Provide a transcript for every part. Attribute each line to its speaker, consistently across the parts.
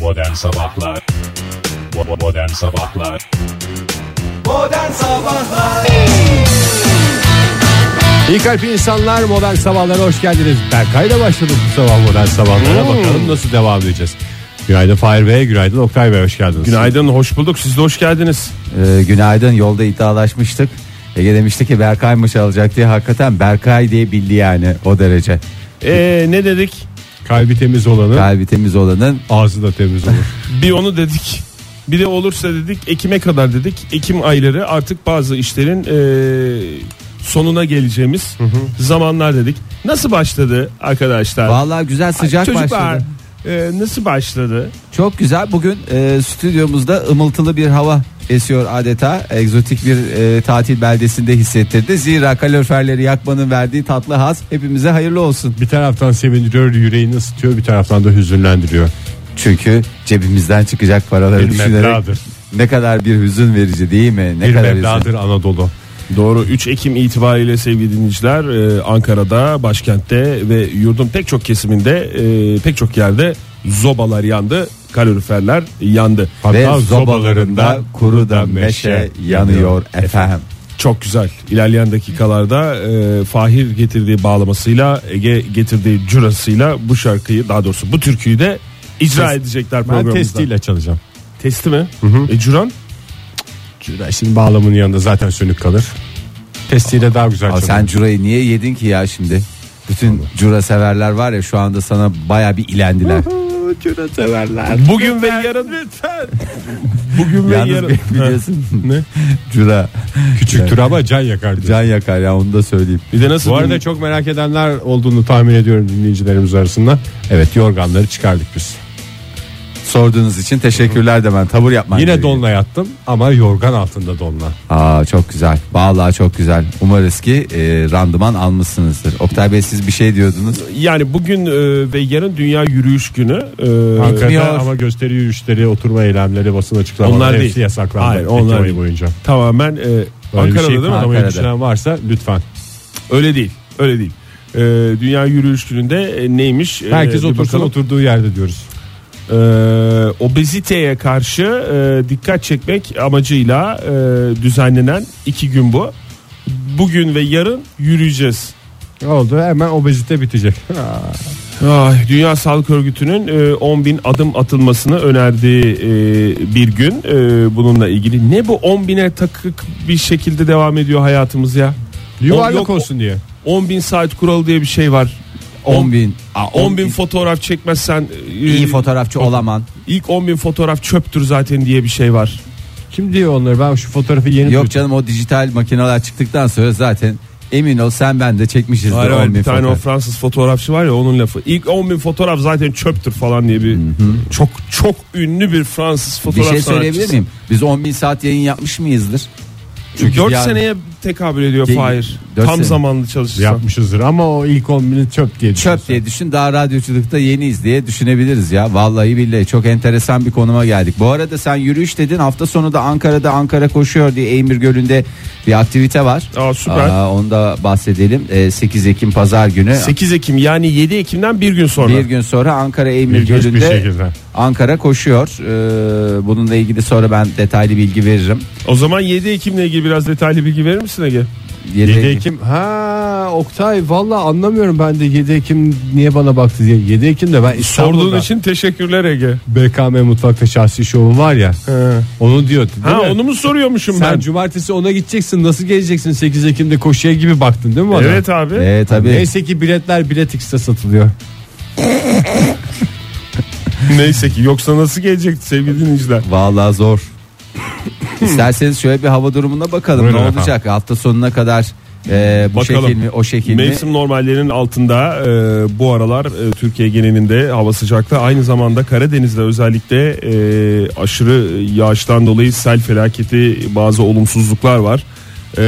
Speaker 1: Modern Sabahlar Bo- Modern Sabahlar
Speaker 2: Modern Sabahlar
Speaker 3: İyi kalp insanlar modern sabahlara hoş geldiniz. Berkay'la başladık bu sabah modern sabahlara. Bakalım nasıl devam edeceğiz. Günaydın Fahir Bey, günaydın Oktay Bey hoş geldiniz.
Speaker 4: Günaydın, hoş bulduk. Siz de hoş geldiniz.
Speaker 2: ee, Günaydın yolda iddialaşmıştık Ege demişti ki Berkay mı çalacak diye Hakikaten Berkay diye bildi yani o derece
Speaker 4: Ee, ne dedik?
Speaker 3: Kalbi temiz olanın
Speaker 2: Kalbi temiz olanın
Speaker 3: ağzı da temiz olur.
Speaker 4: Bir onu dedik. Bir de olursa dedik Ekim'e kadar dedik. Ekim ayları artık bazı işlerin ee, sonuna geleceğimiz zamanlar dedik. Nasıl başladı arkadaşlar?
Speaker 2: Vallahi güzel sıcak
Speaker 4: Çocuklar
Speaker 2: başladı
Speaker 4: ee, nasıl başladı?
Speaker 2: Çok güzel bugün e, stüdyomuzda ımıltılı bir hava esiyor adeta Egzotik bir e, tatil beldesinde hissettirdi Zira kaloriferleri yakmanın verdiği tatlı haz Hepimize hayırlı olsun
Speaker 3: bir taraftan sevindiriyor, yüreğini ısıtıyor, bir taraftan da hüzünlendiriyor.
Speaker 2: Çünkü cebimizden çıkacak paraları
Speaker 3: Bir
Speaker 2: düşünerek
Speaker 3: meblağdır.
Speaker 2: Ne kadar bir hüzün verici değil mi ne
Speaker 3: bir
Speaker 2: kadar
Speaker 3: mevladır Anadolu.
Speaker 4: Doğru 3 Ekim itibariyle sevgili dinleyiciler ee, Ankara'da, başkentte ve yurdun pek çok kesiminde ee, pek çok yerde zobalar yandı, kaloriferler yandı.
Speaker 3: Hatta
Speaker 2: Ve zobalarında
Speaker 3: zobalarında
Speaker 2: kuru da meşe yanıyor efendim.
Speaker 4: Çok güzel. İlerleyen dakikalarda e, Fahir getirdiği bağlamasıyla Ege getirdiği curasıyla bu şarkıyı daha doğrusu bu türküyü de icra edecekler
Speaker 3: ben
Speaker 4: programımızda.
Speaker 3: testiyle çalacağım.
Speaker 4: Testi mi? E, curan?
Speaker 3: Şimdi bağlamının yanında zaten sönük kalır. Testiyle daha güzel
Speaker 2: Aa,
Speaker 3: çalarım.
Speaker 2: sen curayı niye yedin ki ya şimdi? Bütün cura severler var ya şu anda sana baya bir ilendiler.
Speaker 4: Bugün ve yarın lütfen. Bugün ve
Speaker 2: Yalnız
Speaker 4: yarın.
Speaker 2: biliyorsun
Speaker 4: Ne?
Speaker 2: cura
Speaker 3: Küçüktür ama can yakar. diyor.
Speaker 2: can yakar ya onu da söyleyeyim.
Speaker 4: Bir de nasıl?
Speaker 3: Bu arada
Speaker 4: dinle-
Speaker 3: çok merak edenler olduğunu tahmin ediyorum dinleyicilerimiz arasında. Evet yorganları çıkardık biz.
Speaker 2: Sorduğunuz için teşekkürler de ben tavır yapmam
Speaker 3: Yine
Speaker 2: gerekiyor.
Speaker 3: donla yattım ama yorgan altında donla.
Speaker 2: Aa çok güzel. Vallahi çok güzel. Umarız ki e, randıman almışsınızdır. Oktay Bey siz bir şey diyordunuz.
Speaker 4: Yani bugün e, ve yarın Dünya Yürüyüş Günü. E,
Speaker 3: Ankara'da
Speaker 2: Etmiyor.
Speaker 3: ama gösteri yürüyüşleri, oturma eylemleri, basın açıklamaları
Speaker 4: Onlar
Speaker 3: hepsi
Speaker 4: değil.
Speaker 3: yasaklandı.
Speaker 4: Hayır,
Speaker 3: Ekim
Speaker 4: onlar
Speaker 3: ayı
Speaker 4: değil.
Speaker 3: boyunca.
Speaker 4: tamamen e,
Speaker 3: Böyle bir
Speaker 4: Ankara'da
Speaker 3: şey
Speaker 4: değil mi?
Speaker 3: kutlamayı
Speaker 2: Ankara'da.
Speaker 3: düşünen varsa lütfen.
Speaker 4: Öyle değil. Öyle değil. E, Dünya Yürüyüş Günü'nde e, neymiş? E,
Speaker 3: Herkes
Speaker 4: bir
Speaker 3: otursun
Speaker 4: bakalım.
Speaker 3: oturduğu yerde diyoruz.
Speaker 4: Ee, obeziteye karşı e, dikkat çekmek amacıyla e, düzenlenen iki gün bu. Bugün ve yarın yürüyeceğiz.
Speaker 3: Oldu hemen obezite bitecek.
Speaker 4: Ay, Dünya Sağlık Örgütü'nün e, 10 bin adım atılmasını önerdiği e, bir gün e, bununla ilgili. Ne bu 10 bine takık bir şekilde devam ediyor hayatımız ya?
Speaker 3: Yuvarlak
Speaker 4: Yok,
Speaker 3: olsun diye.
Speaker 4: 10 bin saat kuralı diye bir şey var.
Speaker 2: 10 bin.
Speaker 4: 10 bin fotoğraf çekmezsen e,
Speaker 2: iyi fotoğrafçı olaman.
Speaker 4: ilk 10 bin fotoğraf çöptür zaten diye bir şey var.
Speaker 3: Kim diyor onları ben şu fotoğrafı yeni
Speaker 2: Yok canım o dijital makineler çıktıktan sonra zaten emin ol sen ben de çekmişiz.
Speaker 4: Hayır, hayır, bir tane o Fransız fotoğrafçı var ya onun lafı. İlk 10 bin fotoğraf zaten çöptür falan diye bir çok çok ünlü bir Fransız
Speaker 2: bir
Speaker 4: fotoğraf
Speaker 2: şey söyleyebilir
Speaker 4: sanatçısı.
Speaker 2: miyim? Biz 10 bin saat yayın yapmış mıyızdır? Çünkü
Speaker 4: 4
Speaker 2: yani-
Speaker 4: seneye tekabül ediyor
Speaker 2: Ge-
Speaker 4: Fahir.
Speaker 2: dört
Speaker 4: Tam
Speaker 2: sene.
Speaker 4: zamanlı çalışırsan.
Speaker 3: yapmışızdır ama o ilk 10 bini çöp diye
Speaker 2: Çöp diye düşün daha radyoculukta yeniyiz diye düşünebiliriz ya. Vallahi billahi çok enteresan bir konuma geldik. Bu arada sen yürüyüş dedin hafta sonu da Ankara'da Ankara koşuyor diye Eymir Gölü'nde bir aktivite var.
Speaker 4: Aa, süper.
Speaker 2: Aa, onu da bahsedelim. Ee, 8 Ekim pazar günü.
Speaker 4: 8 Ekim yani 7 Ekim'den bir gün sonra.
Speaker 2: Bir gün sonra Ankara Eymir
Speaker 3: İlginç bir
Speaker 2: Gölü'nde
Speaker 3: şekilde.
Speaker 2: Ankara koşuyor. Ee, bununla ilgili sonra ben detaylı bilgi veririm.
Speaker 4: O zaman 7 Ekim'le ilgili biraz detaylı bilgi verir misin Ege?
Speaker 2: 7
Speaker 3: 7 Ekim ha Oktay valla anlamıyorum ben de 7 Ekim niye bana baktı diye 7 Ekim de ben İstanbul'da
Speaker 4: Sorduğun için teşekkürler Ege.
Speaker 3: BKM mutfakta şahsi şovum var ya onu diyor değil
Speaker 4: Ha
Speaker 3: mi?
Speaker 4: onu mu soruyormuşum
Speaker 3: sen
Speaker 4: ben?
Speaker 3: cumartesi ona gideceksin nasıl geleceksin 8 Ekim'de koşuya gibi baktın değil mi bana?
Speaker 4: Evet abi.
Speaker 2: Ee, tabii.
Speaker 3: Neyse ki biletler biletix'te satılıyor.
Speaker 4: Neyse ki yoksa nasıl gelecekti sevgili dinleyiciler?
Speaker 2: Vallahi zor. İsterseniz şöyle bir hava durumuna bakalım
Speaker 3: Buyurun
Speaker 2: ne
Speaker 3: efendim.
Speaker 2: olacak hafta sonuna kadar e, bu
Speaker 4: Bakalım.
Speaker 2: şekil mi o şekil mi?
Speaker 4: Mevsim normallerinin altında e, bu aralar e, Türkiye genelinde hava sıcaklığı aynı zamanda Karadeniz'de özellikle e, aşırı yağıştan dolayı sel felaketi bazı olumsuzluklar var. E,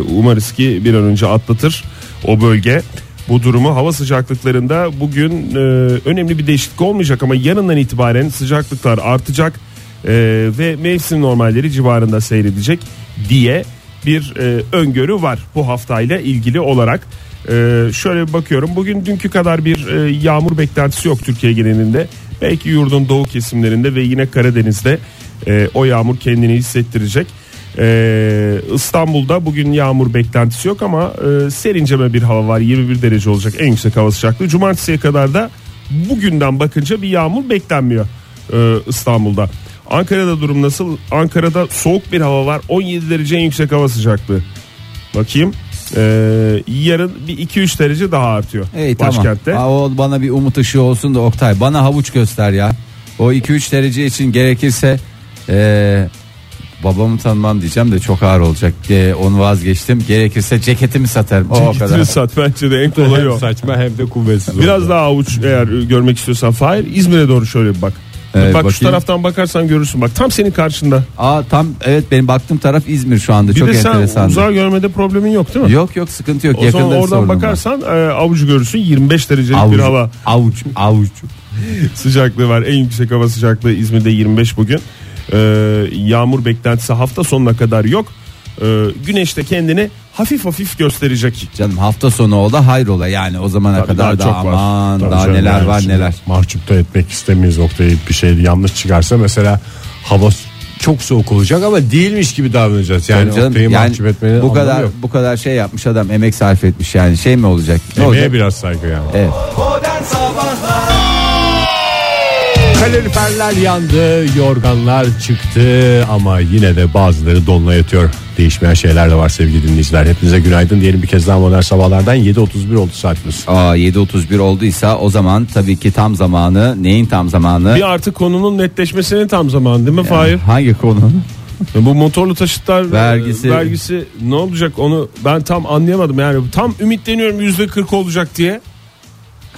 Speaker 4: umarız ki bir an önce atlatır o bölge. Bu durumu hava sıcaklıklarında bugün e, önemli bir değişiklik olmayacak ama yarından itibaren sıcaklıklar artacak e, ve mevsim normalleri civarında seyredecek diye bir e, öngörü var bu haftayla ilgili olarak. E, şöyle bir bakıyorum bugün dünkü kadar bir e, yağmur beklentisi yok Türkiye genelinde. Belki yurdun doğu kesimlerinde ve yine Karadeniz'de e, o yağmur kendini hissettirecek. E, İstanbul'da bugün yağmur beklentisi yok ama e, serinceme bir hava var. 21 derece olacak en yüksek hava sıcaklığı. Cumartesiye kadar da bugünden bakınca bir yağmur beklenmiyor e, İstanbul'da. Ankara'da durum nasıl? Ankara'da soğuk bir hava var. 17 derece en yüksek hava sıcaklığı. Bakayım. E, yarın bir 2-3 derece daha artıyor
Speaker 2: Ey,
Speaker 4: başkentte.
Speaker 2: Tamam. Aa, o bana bir umut ışığı olsun da Oktay bana havuç göster ya. O 2-3 derece için gerekirse eee, babamı tanımam diyeceğim de çok ağır olacak. Eee, onu vazgeçtim. Gerekirse ceketimi satarım. O, o kadar.
Speaker 4: Gittiğiniz saat bence de en kolayı
Speaker 3: hem
Speaker 4: o.
Speaker 3: saçma hem de kuvvetsiz.
Speaker 4: Biraz daha avuç eğer görmek istiyorsan Fahir İzmir'e doğru şöyle bir bak.
Speaker 2: Evet,
Speaker 4: bak şu
Speaker 2: bakayım.
Speaker 4: taraftan bakarsan görürsün. Bak tam senin karşında.
Speaker 2: Aa tam evet benim baktığım taraf İzmir şu anda.
Speaker 4: Bir
Speaker 2: çok
Speaker 4: de sen
Speaker 2: enteresan.
Speaker 4: uzağa görmede problemin yok değil mi?
Speaker 2: Yok yok sıkıntı yok.
Speaker 4: O zaman
Speaker 2: Yakında
Speaker 4: oradan bakarsan e, avucu görürsün 25 derecelik bir hava
Speaker 2: Avuç avuç.
Speaker 4: sıcaklığı var. En yüksek hava sıcaklığı İzmir'de 25 bugün. E, yağmur beklentisi hafta sonuna kadar yok. E, güneş de kendini hafif hafif gösterecek.
Speaker 2: Canım hafta sonu o da hayrola yani o zamana
Speaker 4: Tabii,
Speaker 2: kadar
Speaker 4: daha
Speaker 2: da
Speaker 4: çok var.
Speaker 2: aman
Speaker 3: Tabii
Speaker 2: daha
Speaker 3: canım,
Speaker 2: neler
Speaker 3: yani
Speaker 2: var
Speaker 3: şimdi
Speaker 2: neler.
Speaker 3: Mahcup da etmek istemeyiz noktayı bir şey yanlış çıkarsa mesela hava çok soğuk olacak ama değilmiş gibi davranacağız. Yani
Speaker 2: Tabii canım,
Speaker 3: Oktay'ı
Speaker 2: yani
Speaker 3: mahcup etmenin
Speaker 2: bu kadar
Speaker 3: yok.
Speaker 2: bu kadar şey yapmış adam emek sarf etmiş yani şey mi olacak? Ne
Speaker 3: Emeğe
Speaker 2: olacak?
Speaker 3: biraz saygı yani.
Speaker 2: Evet.
Speaker 3: Kaloriferler yandı, yorganlar çıktı ama yine de bazıları donla yatıyor. Değişmeyen şeyler de var sevgili dinleyiciler. Hepinize günaydın diyelim bir kez daha modern sabahlardan 7.31 oldu saatimiz.
Speaker 2: Aa 7.31 olduysa o zaman tabii ki tam zamanı neyin tam zamanı?
Speaker 4: Bir artık konunun netleşmesinin tam zamanı değil mi Fahir?
Speaker 2: Hangi konu?
Speaker 4: Ya Bu motorlu taşıtlar vergisi.
Speaker 2: Vergisi.
Speaker 4: vergisi ne olacak onu ben tam anlayamadım yani tam ümitleniyorum yüzde 40 olacak diye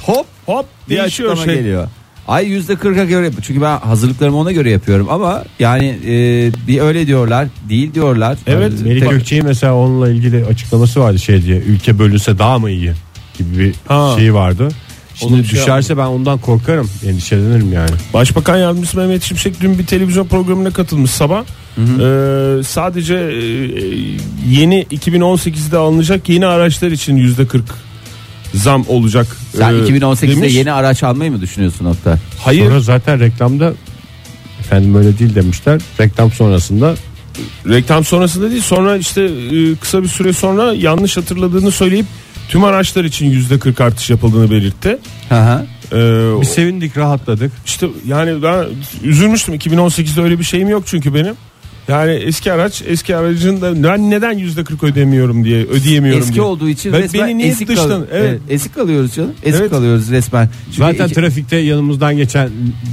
Speaker 2: Hop
Speaker 4: hop
Speaker 2: bir
Speaker 4: değişiyor
Speaker 2: açıklama
Speaker 4: şey.
Speaker 2: geliyor. Ay yüzde kırka göre yap- çünkü ben hazırlıklarımı ona göre yapıyorum ama yani e, bir öyle diyorlar değil diyorlar.
Speaker 4: Evet,
Speaker 2: Yani
Speaker 3: Melih
Speaker 2: tek-
Speaker 3: Gökçe'nin mesela onunla ilgili açıklaması vardı şey diye ülke bölünse daha mı iyi gibi bir
Speaker 4: Ha.
Speaker 3: şeyi vardı. Şimdi
Speaker 4: Onun bir şey
Speaker 3: düşerse ben ondan korkarım, endişelenirim yani.
Speaker 4: Başbakan yardımcısı Mehmet Şimşek dün bir televizyon programına katılmış sabah. Ee, sadece e, yeni 2018'de alınacak yeni araçlar için yüzde 40 zam olacak.
Speaker 2: Sen
Speaker 4: e,
Speaker 2: 2018'de
Speaker 4: demiş.
Speaker 2: yeni araç almayı mı düşünüyorsun Oktay?
Speaker 4: hayır
Speaker 3: Sonra zaten reklamda efendim öyle değil demişler. Reklam sonrasında
Speaker 4: reklam sonrasında değil sonra işte e, kısa bir süre sonra yanlış hatırladığını söyleyip tüm araçlar için yüzde 40 artış yapıldığını belirtti.
Speaker 2: Hı hı.
Speaker 4: Ee,
Speaker 3: bir sevindik, rahatladık.
Speaker 4: İşte yani ben üzülmüştüm 2018'de öyle bir şeyim yok çünkü benim. Yani eski araç eski aracın da ben neden yüzde 40 ödemiyorum diye ödeyemiyorum
Speaker 2: Eski
Speaker 4: diye.
Speaker 2: olduğu için
Speaker 4: Ben-
Speaker 2: resmen
Speaker 4: beni niye
Speaker 2: ezik,
Speaker 4: dışladın?
Speaker 2: kal-
Speaker 4: Evet.
Speaker 2: Evet, ezik kalıyoruz canım. Ezik
Speaker 4: Evet.
Speaker 2: kalıyoruz resmen. Çünkü
Speaker 3: Zaten
Speaker 2: iki-
Speaker 3: trafikte yanımızdan geçen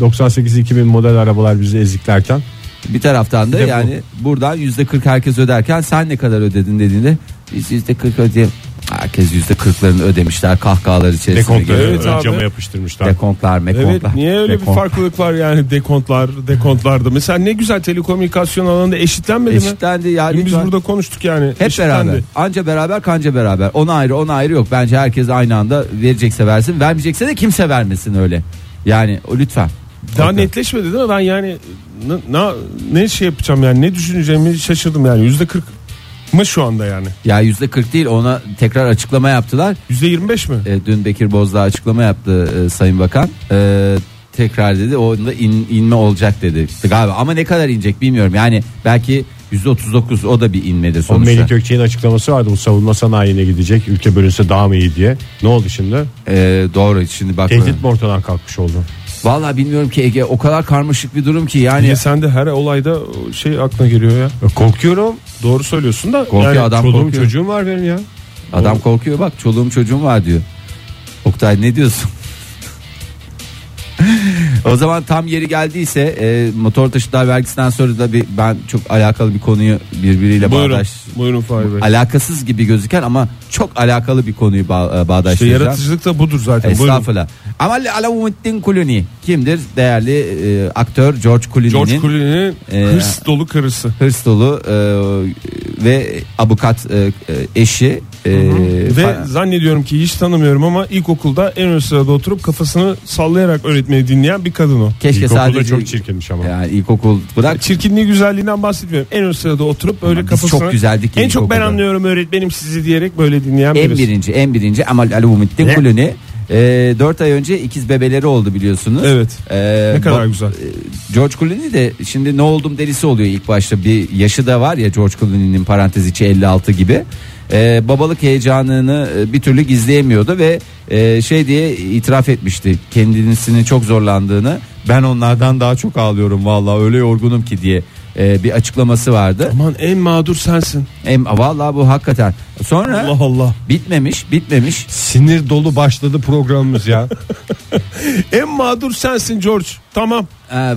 Speaker 3: 98-2000 model arabalar bizi eziklerken
Speaker 2: bir taraftan da
Speaker 3: Bir de bu.
Speaker 2: yani buradan yüzde 40 herkes öderken sen ne kadar ödedin dediğinde biz yüzde 40 ödeyeyim. Herkes yüzde 40'larını ödemişler kahkahalar içerisinde.
Speaker 3: dekontları
Speaker 2: geliyor.
Speaker 4: Evet abi.
Speaker 3: cama yapıştırmışlar.
Speaker 2: Dekontlar, mekontlar.
Speaker 4: Evet niye öyle
Speaker 2: dekont.
Speaker 4: bir farklılık var yani dekontlar dekontlarda. Mesela ne güzel telekomünikasyon alanında eşitlenmedi mi?
Speaker 2: Eşitlendi ya
Speaker 4: Dün biz
Speaker 2: lütfen.
Speaker 4: burada konuştuk yani.
Speaker 2: Hep
Speaker 4: eşitlendi.
Speaker 2: beraber. Anca beraber kanca beraber. Ona ayrı ona ayrı yok. Bence herkes aynı anda verecekse versin. Vermeyecekse de kimse vermesin öyle. Yani o lütfen.
Speaker 4: Daha
Speaker 2: Oktay.
Speaker 4: netleşmedi değil mi? Ben yani ne, na- ne şey yapacağım yani ne düşüneceğimi şaşırdım yani yüzde 40 mı şu anda yani?
Speaker 2: Ya yüzde 40 değil ona tekrar açıklama yaptılar.
Speaker 4: Yüzde 25 mi?
Speaker 2: E, dün Bekir Bozdağ açıklama yaptı e, Sayın Bakan. E, tekrar dedi onda in- inme olacak dedi. Galiba ama ne kadar inecek bilmiyorum. Yani belki yüzde 39 o da bir inmedi
Speaker 3: O
Speaker 2: sonuçta.
Speaker 3: Melih Gökçe'nin açıklaması vardı bu savunma sanayine gidecek ülke bölünse daha mı iyi diye. Ne oldu şimdi?
Speaker 2: E, doğru şimdi bak.
Speaker 3: Tehdit mi ortadan kalkmış oldu?
Speaker 2: Vallahi bilmiyorum ki Ege o kadar karmaşık bir durum ki yani.
Speaker 4: Niye sen de her olayda şey aklına geliyor ya?
Speaker 3: Korkuyorum.
Speaker 4: Doğru söylüyorsun da
Speaker 2: Korkuyor
Speaker 4: yani
Speaker 2: adam
Speaker 3: Çoluğum
Speaker 2: korkuyor.
Speaker 3: çocuğum var benim ya.
Speaker 2: Adam korkuyor bak çoluğum çocuğum var diyor. Oktay ne diyorsun? o zaman tam yeri geldiyse e, motor taşıtlar vergisinden sonra da bir ben çok alakalı bir konuyu birbiriyle
Speaker 4: Buyurun.
Speaker 2: E, bağdaş
Speaker 4: Buyurun Fahri Bey.
Speaker 2: alakasız gibi gözüken ama çok alakalı bir konuyu bağ, e,
Speaker 4: İşte
Speaker 2: bağdaştıracağım.
Speaker 4: yaratıcılık da budur zaten. Buyurun.
Speaker 2: Estağfurullah. Ama Alamuddin Kuluni kimdir? Değerli e, aktör George Clooney'nin
Speaker 4: George Clooney'nin
Speaker 2: Ee,
Speaker 4: hırs dolu karısı.
Speaker 2: hırs dolu e, ve avukat e, e, eşi e,
Speaker 4: Ve
Speaker 2: fa-
Speaker 4: zannediyorum ki hiç tanımıyorum ama ilkokulda en ön sırada oturup kafasını sallayarak öğretmeni dinleyen bir kadın o.
Speaker 2: keşke
Speaker 3: İlkokulda
Speaker 2: sadece
Speaker 3: çok çirkinmiş ama.
Speaker 2: Yani ilkokul bırak.
Speaker 4: Çirkinliği güzelliğinden bahsetmiyorum. En ön sırada oturup böyle
Speaker 2: biz
Speaker 4: kafasını
Speaker 2: çok güzeldik
Speaker 4: en çok ben
Speaker 2: ilkokulda.
Speaker 4: anlıyorum öğretmenim sizi diyerek böyle dinleyen
Speaker 2: En
Speaker 4: birisi.
Speaker 2: birinci, en birinci Amal Alavuddin Kuluni 4 Ee, ay önce ikiz bebeleri oldu biliyorsunuz.
Speaker 4: Evet.
Speaker 2: Ee,
Speaker 4: Ne kadar
Speaker 2: Bob-
Speaker 4: güzel.
Speaker 3: e,
Speaker 2: George Clooney de şimdi ne oldum delisi oluyor ilk başta bir yaşı da var ya George Clooney'nin parantez içi 56 gibi Ee, babalık heyecanını e, bir türlü gizleyemiyordu ve e, şey diye itiraf etmişti kendisini çok zorlandığını ben onlardan daha çok ağlıyorum vallahi öyle yorgunum ki diye e, bir açıklaması vardı.
Speaker 4: Aman en mağdur sensin.
Speaker 2: Em, vallahi bu hakikaten sonra
Speaker 4: Allah Allah.
Speaker 2: bitmemiş bitmemiş
Speaker 3: Sinir dolu başladı programımız ya.
Speaker 4: En mağdur sensin George. Tamam.
Speaker 2: Ee,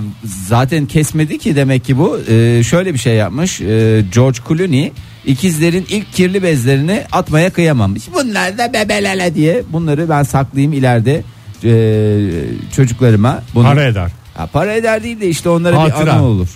Speaker 2: zaten kesmedi ki demek ki bu Ee, şöyle bir şey yapmış Ee, George Clooney ikizlerin ilk kirli bezlerini atmaya kıyamamış bunlar da bebelele diye bunları ben saklayayım ileride ee, çocuklarıma bunu
Speaker 3: Para eder.
Speaker 2: Ha, para eder değil de işte onlara bir
Speaker 3: Hatıra.
Speaker 2: anı olur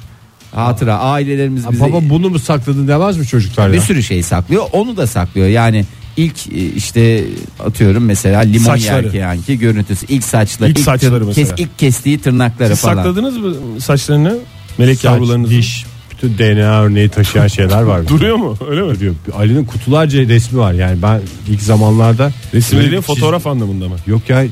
Speaker 2: hatıra ailelerimiz bize
Speaker 3: Baba bunu mu sakladın demez mi çocuklar
Speaker 2: bir
Speaker 3: ya?
Speaker 2: sürü şey saklıyor onu da saklıyor yani ilk e, işte atıyorum mesela limon
Speaker 4: Saçları.
Speaker 2: yerken ki görüntüsü ilk saçları
Speaker 4: İlk saçları mesela.
Speaker 2: ilk kestiği tırnakları
Speaker 4: Siz
Speaker 2: falan
Speaker 4: sakladınız mı saçlarını? Melek
Speaker 3: Saç,
Speaker 4: yavrularınızı.
Speaker 3: diş, bütün DNA örneği taşıyan şeyler var.
Speaker 4: Duruyor mu? Öyle mi?
Speaker 3: Duruyor. Ali'nin kutularca resmi var. Yani ben ilk zamanlarda
Speaker 4: Resim
Speaker 3: Böyle
Speaker 4: dediğin
Speaker 3: bir çiz-
Speaker 4: fotoğraf anlamında mı?
Speaker 3: Yok ya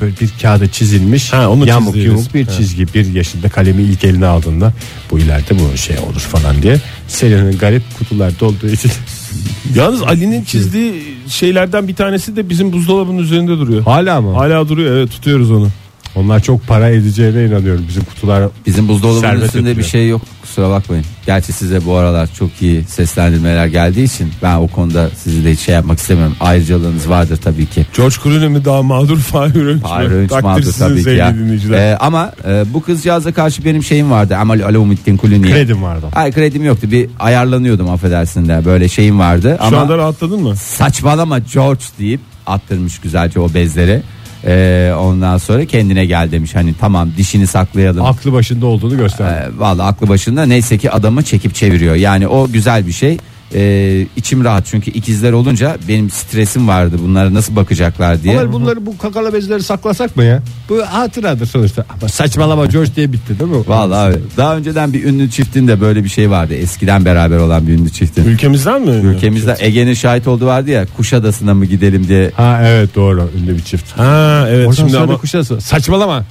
Speaker 3: böyle bir kağıda çizilmiş.
Speaker 4: Ha, onu
Speaker 3: yamuk
Speaker 4: çizdiği
Speaker 3: yumuk
Speaker 4: resim.
Speaker 3: bir
Speaker 4: Ha.
Speaker 3: çizgi. Bir yaşında kalemi ilk eline aldığında bu ileride bu şey olur falan diye. Selin'in garip kutularda olduğu için.
Speaker 4: Yalnız Ali'nin çizdiği şeylerden bir tanesi de bizim buzdolabının üzerinde duruyor.
Speaker 3: Hala mı?
Speaker 4: Hala duruyor evet tutuyoruz onu.
Speaker 3: Onlar çok para edeceğine inanıyorum bizim kutular.
Speaker 2: Bizim buzdolabının
Speaker 3: Servet
Speaker 2: üstünde
Speaker 3: yapıyor.
Speaker 2: bir şey yok kusura bakmayın. Gerçi size bu aralar çok iyi seslendirmeler geldiği için ben o konuda sizi de hiç şey yapmak istemiyorum. Ayrıcalığınız vardır tabii ki.
Speaker 4: George Clooney mi daha mağdur Fahir Öğünç mü?
Speaker 2: Hayır hiç
Speaker 4: Takdir
Speaker 2: mağdur
Speaker 4: sizin
Speaker 2: tabii ki
Speaker 4: sevgili
Speaker 2: ya.
Speaker 4: dinleyiciler.
Speaker 2: Ee, ama e, bu kızcağıza karşı benim şeyim vardı. Amal Alamuddin Kulüniye.
Speaker 3: Kredim vardı.
Speaker 2: Hayır kredim yoktu. Bir ayarlanıyordum affedersin de böyle şeyim vardı.
Speaker 4: Şu
Speaker 2: ama
Speaker 4: anda rahatladın mı?
Speaker 2: saçmalama George deyip attırmış güzelce o bezleri. Ee, ondan sonra kendine gel demiş. Hani tamam dişini saklayalım.
Speaker 3: Aklı başında olduğunu gösterdi.
Speaker 2: Ee, Valla aklı başında neyse ki adamı çekip çeviriyor. Yani o güzel bir şey. Ee, içim rahat çünkü ikizler olunca benim stresim vardı bunlara nasıl bakacaklar
Speaker 4: Ee,
Speaker 2: diye.
Speaker 3: Ama bunları bu kakala bezleri saklasak mı ya? Bu hatıradır sonuçta. Ama saçmalama George diye bitti değil mi?
Speaker 2: Valla abi, daha önceden bir ünlü çiftin de böyle bir şey vardı. Eskiden beraber olan bir ünlü çiftin.
Speaker 4: Ülkemizden mi?
Speaker 2: Ülkemizde Ege'nin şahit olduğu vardı ya Kuşadası'na mı gidelim diye.
Speaker 3: Ha evet doğru ünlü bir çift.
Speaker 4: Ha evet
Speaker 3: Oradan
Speaker 4: şimdi
Speaker 3: sonra
Speaker 4: ama
Speaker 3: da kuşası saçmalama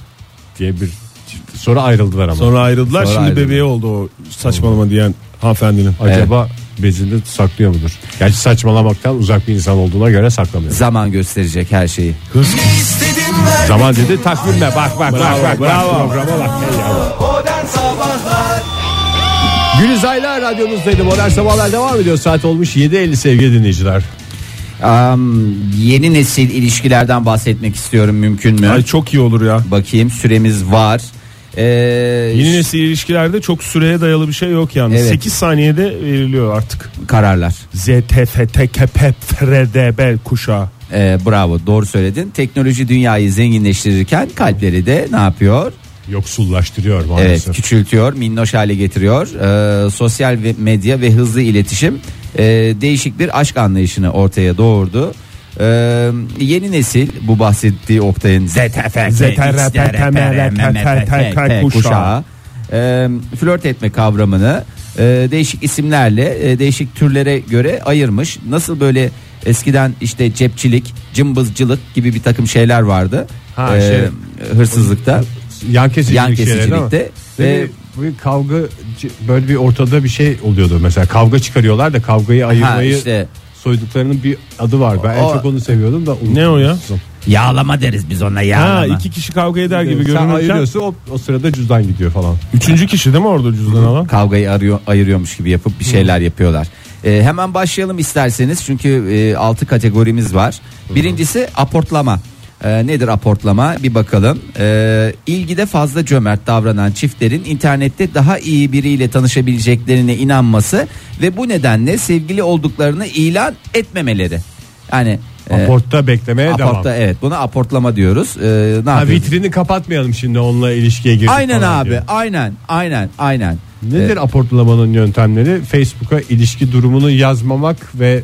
Speaker 3: diye bir çift. Sonra ayrıldılar ama.
Speaker 4: sonra ayrıldılar
Speaker 2: Sonra
Speaker 4: şimdi
Speaker 2: ayrıldı.
Speaker 4: bebeği oldu o saçmalama diyen hanımefendinin.
Speaker 3: Acaba bezini saklıyor mudur? Gerçi saçmalamaktan uzak bir insan olduğuna göre saklamıyor.
Speaker 2: Zaman gösterecek her şeyi.
Speaker 3: Zaman dedi takvimle bak bak bak bak.
Speaker 4: bravo.
Speaker 3: Programa bak. Hey ya. Gülizaylar radyonuzdaydı. Modern Sabahlar devam ediyor. Saat olmuş 7.50 sevgili dinleyiciler.
Speaker 2: Am, yeni nesil ilişkilerden bahsetmek istiyorum mümkün mü?
Speaker 4: Ay çok iyi olur ya.
Speaker 2: Bakayım süremiz var. Ee,
Speaker 4: Yeni nesil ilişkilerde çok süreye dayalı bir şey yok yani.
Speaker 2: Evet.
Speaker 4: 8 saniyede veriliyor artık.
Speaker 2: kararlar.
Speaker 4: ZTFTKPFRDB kuşağı.
Speaker 2: Ee, bravo doğru söyledin. Teknoloji dünyayı zenginleştirirken kalpleri de ne yapıyor?
Speaker 3: Yoksullaştırıyor
Speaker 2: Evet
Speaker 3: maalesef.
Speaker 2: küçültüyor, minnoş hale getiriyor. Ee, sosyal ve medya ve hızlı iletişim e, değişik bir aşk anlayışını ortaya doğurdu. Ee, yeni nesil bu bahsettiği Oktay'ın ZTF
Speaker 4: ZTRPTMRTTK
Speaker 2: kuşağı e, flört etme kavramını e, değişik isimlerle e, değişik türlere göre ayırmış. Nasıl böyle eskiden işte cepçilik, cımbızcılık gibi bir takım şeyler vardı.
Speaker 3: Ha,
Speaker 2: Ee,
Speaker 3: şey-
Speaker 2: hırssızlıkta.
Speaker 3: Yan kesicilik,
Speaker 2: Yan
Speaker 3: şeyleri
Speaker 2: kesicilikte
Speaker 3: ama.
Speaker 2: ve-
Speaker 3: Böyle bir kavga böyle bir ortada bir şey oluyordu mesela kavga çıkarıyorlar da kavgayı ayırmayı
Speaker 2: işte.
Speaker 3: soyduklarının bir adı var ben en
Speaker 2: O-
Speaker 3: çok onu seviyordum da unuttum.
Speaker 4: Ne o ya?
Speaker 2: Yağlama deriz biz ona
Speaker 4: Ha
Speaker 2: yağlama.
Speaker 4: iki kişi kavga eder gibi
Speaker 3: gibi Sen
Speaker 4: görünürken.
Speaker 3: ayırıyorsun o, o sırada cüzdan gidiyor falan
Speaker 4: Üçüncü kişi değil mi orada cüzdan alan?
Speaker 2: Kavgayı arıyor, ayırıyormuş gibi yapıp bir şeyler yapıyorlar. Ee, hemen başlayalım isterseniz çünkü e, 6 kategorimiz var. Birincisi aportlama. Ee, nedir aportlama? Bir bakalım. Ee, ilgide fazla cömert davranan çiftlerin internette daha iyi biriyle tanışabileceklerine inanması ve bu nedenle sevgili olduklarını ilan etmemeleri. Yani e,
Speaker 3: aportta beklemeye
Speaker 2: aporta
Speaker 3: devam
Speaker 2: evet buna aportlama diyoruz. Ee, ne
Speaker 3: ha,
Speaker 2: yapıyoruz?
Speaker 3: vitrini kapatmayalım şimdi onunla ilişkiye girdik
Speaker 2: Aynen
Speaker 3: falan
Speaker 2: abi.
Speaker 3: diye.
Speaker 2: Aynen. Aynen. Aynen.
Speaker 3: Nedir aportlamanın yöntemleri? Facebook'a ilişki durumunu yazmamak ve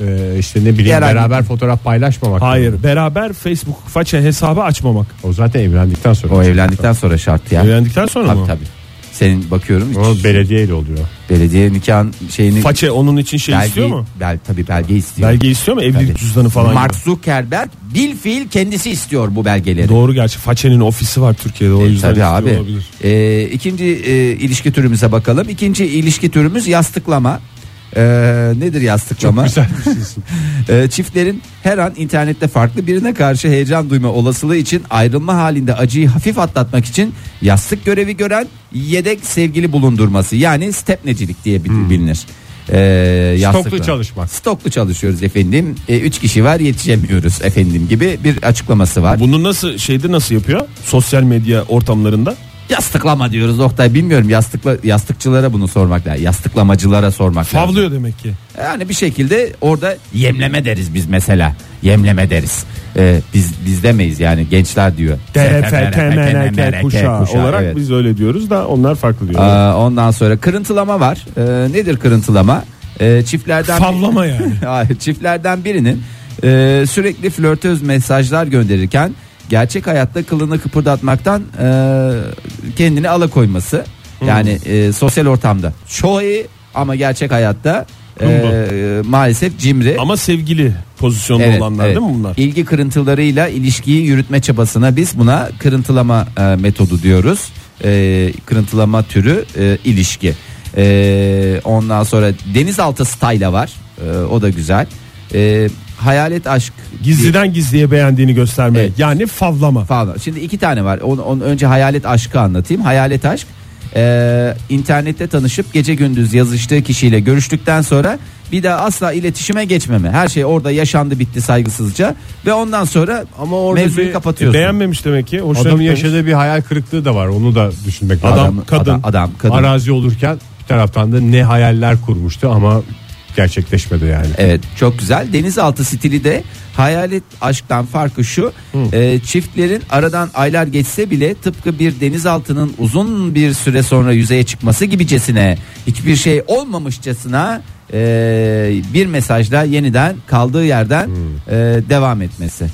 Speaker 3: e, işte ne bileyim
Speaker 2: Herhangi-
Speaker 3: beraber fotoğraf paylaşmamak.
Speaker 4: Hayır beraber Facebook faça hesabı açmamak.
Speaker 3: O zaten evlendikten sonra.
Speaker 2: O Ee, evlendikten sonra şart ya.
Speaker 4: Evlendikten sonra
Speaker 2: Tabii
Speaker 4: mı?
Speaker 2: tabii. Senin bakıyorum hiç
Speaker 3: Ama belediyeyle oluyor.
Speaker 2: belediye nikahın şeyini
Speaker 4: Façe onun için şey istiyor mu?
Speaker 2: Bel, tabii belge istiyor.
Speaker 4: Belge istiyor mu? Evlilik
Speaker 2: Tabii.
Speaker 4: cüzdanı falan.
Speaker 2: Mark
Speaker 4: gibi.
Speaker 2: Zuckerberg bil fiil kendisi istiyor bu belgeleri.
Speaker 4: Doğru gerçi Façe'nin ofisi var Türkiye'de o
Speaker 2: E,
Speaker 4: yüzden
Speaker 2: Tabii
Speaker 4: istiyor
Speaker 2: abi.
Speaker 4: olabilir.
Speaker 2: E, ikinci e, ilişki türümüze bakalım. İkinci ilişki türümüz yastıklama. E, nedir yastıklama? E, çiftlerin her an internette farklı birine karşı heyecan duyma olasılığı için ayrılma halinde acıyı hafif atlatmak için yastık görevi gören yedek sevgili bulundurması. Yani stepnecilik diye bil- bilinir. E, yastıkla.
Speaker 3: çalışmak.
Speaker 2: Stoklu çalışıyoruz efendim. E, üç kişi var yetişemiyoruz efendim gibi bir açıklaması var.
Speaker 4: Bunu nasıl şeyde nasıl yapıyor? Sosyal medya ortamlarında.
Speaker 2: Yastıklama diyoruz Oktay bilmiyorum yastıkla yastıkçılara bunu sormak lazım. Yastıklamacılara sormak lazım.
Speaker 4: Favlıyor demek ki.
Speaker 2: Yani bir şekilde orada yemleme deriz biz mesela. Yemleme deriz. Ee, biz biz demeyiz yani gençler diyor.
Speaker 4: TRFTMNK kuşağı olarak
Speaker 2: evet.
Speaker 4: biz öyle diyoruz da onlar farklı diyor.
Speaker 2: Aa, ondan sonra kırıntılama var. Ee, nedir kırıntılama? Ee, çiftlerden
Speaker 4: Favlama yani.
Speaker 2: Hayır, çiftlerden birinin e, sürekli flörtöz mesajlar gönderirken gerçek hayatta kılını kıpırdatmaktan e, kendini alakoyması. Yani e, sosyal ortamda çok iyi ama gerçek hayatta e,
Speaker 4: Kumru.
Speaker 2: maalesef cimri.
Speaker 4: Ama sevgili pozisyonda
Speaker 2: Evet,
Speaker 4: olanlar
Speaker 2: evet.
Speaker 4: değil mi bunlar?
Speaker 2: İlgi kırıntılarıyla ilişkiyi yürütme çabasına biz buna kırıntılama e, metodu diyoruz. E, kırıntılama türü e, ilişki. E, ondan sonra denizaltı style'a var. E, o da güzel. E, hayalet aşk diye-
Speaker 4: Gizliden gizliye beğendiğini gösterme.
Speaker 2: Evet.
Speaker 4: Yani favlama.
Speaker 2: falan. Şimdi iki tane var. Onu, onu önce hayalet aşkı anlatayım. Hayalet aşk e, internette tanışıp gece gündüz yazıştığı kişiyle görüştükten sonra bir daha asla iletişime geçmeme. Her şey orada yaşandı bitti saygısızca ve ondan sonra
Speaker 3: Ama orada
Speaker 2: mevzuyu
Speaker 3: bir-
Speaker 2: kapatıyorsun.
Speaker 4: E, Beğenmemiş demek ki. Hoşuna
Speaker 3: Adamın
Speaker 4: gitmemiş.
Speaker 3: yaşadığı bir hayal kırıklığı da var. Onu da düşünmek
Speaker 4: Adam,
Speaker 3: lazım.
Speaker 2: Adam-
Speaker 4: kadın.
Speaker 2: Adam, adam, kadın.
Speaker 3: Arazi olurken bir taraftan da ne hayaller kurmuştu ama gerçekleşmedi yani.
Speaker 2: Evet çok güzel. Denizaltı stili de hayalet aşktan farkı şu. e, çiftlerin aradan aylar geçse bile tıpkı bir denizaltının uzun bir süre sonra yüzeye çıkması gibicesine hiçbir şey olmamışçasına e, bir mesajla yeniden kaldığı yerden e, devam etmesi.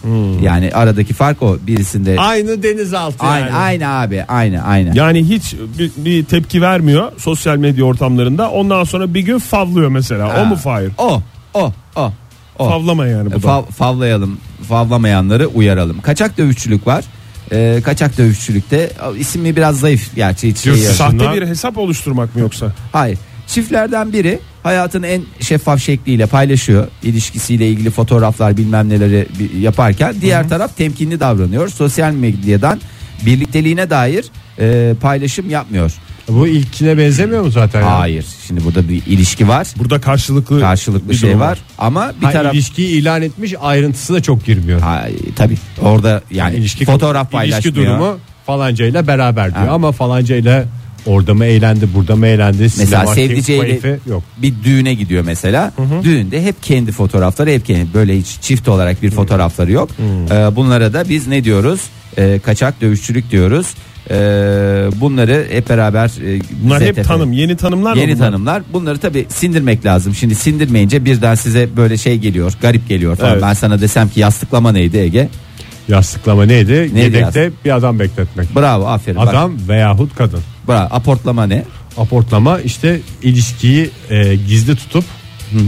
Speaker 2: Yani aradaki fark o birisinde.
Speaker 3: Aynı denizaltı
Speaker 2: Aynı, aynı abi aynı aynı.
Speaker 4: Yani hiç bir, bir tepki vermiyor sosyal medya ortamlarında. Ondan sonra bir gün favlıyor mesela. O mu Fahir?
Speaker 2: O o o. o.
Speaker 4: Favlama yani bu da.
Speaker 2: Fav- E, favlayalım, favlamayanları uyaralım. Kaçak dövüşçülük var. Ee, kaçak dövüşçülükte a, ismi biraz zayıf gerçi hiç şey
Speaker 3: Diyorsun.
Speaker 2: yok.
Speaker 4: Sahte
Speaker 3: Şunlar-
Speaker 4: bir hesap oluşturmak mı yoksa?
Speaker 2: Hayır. Çiftlerden biri hayatın en şeffaf şekliyle paylaşıyor. İlişkisiyle ilgili fotoğraflar bilmem neleri bi- yaparken diğer taraf temkinli davranıyor. Sosyal medyadan birlikteliğine dair e, paylaşım yapmıyor.
Speaker 3: Bu ilkine benzemiyor mu zaten? ya?
Speaker 2: Hayır. Şimdi burada bir ilişki var.
Speaker 4: Burada karşılıklı
Speaker 2: Karşılıklı
Speaker 4: bir
Speaker 2: şey
Speaker 4: durum
Speaker 2: var ama bir
Speaker 3: Ha,
Speaker 2: taraf
Speaker 3: ilişkiyi ilan etmiş ayrıntısı da çok girmiyor.
Speaker 2: Ay, tabii orada yani
Speaker 3: ilişki
Speaker 2: Hani fotoğraf
Speaker 3: ilişki
Speaker 2: paylaşmıyor.
Speaker 3: durumu falancayla beraber diyor
Speaker 2: Ha.
Speaker 3: ama falancayla orada mı eğlendi burada mı eğlendi
Speaker 2: Mesela
Speaker 3: sinema,
Speaker 2: sevdiceğiyle
Speaker 3: keyfi yok.
Speaker 2: bir düğüne gidiyor mesela. Düğünde hep kendi fotoğrafları, hep kendi böyle hiç çift olarak bir fotoğrafları yok. Ee, bunlara da biz ne diyoruz? Ee, kaçak dövüşçülük diyoruz. Ee, bunları hep beraber e,
Speaker 4: Bunlar hep
Speaker 2: ZTF
Speaker 4: tanım. Yeni tanımlar mı
Speaker 2: Yeni
Speaker 4: bunlar?
Speaker 2: tanımlar. Bunları tabi sindirmek lazım. Şimdi sindirmeyince birden size böyle şey geliyor, garip geliyor falan.
Speaker 4: Evet.
Speaker 2: Ben sana desem ki yastıklama neydi Ege?
Speaker 3: Yastıklama neydi? Yedekte
Speaker 2: yastık?
Speaker 3: bir adam bekletmek.
Speaker 2: Bravo, aferin. Bak,
Speaker 3: Adam veyahut kadın.
Speaker 2: bravo. Aportlama ne?
Speaker 3: Aportlama işte ilişkiyi e, gizli tutup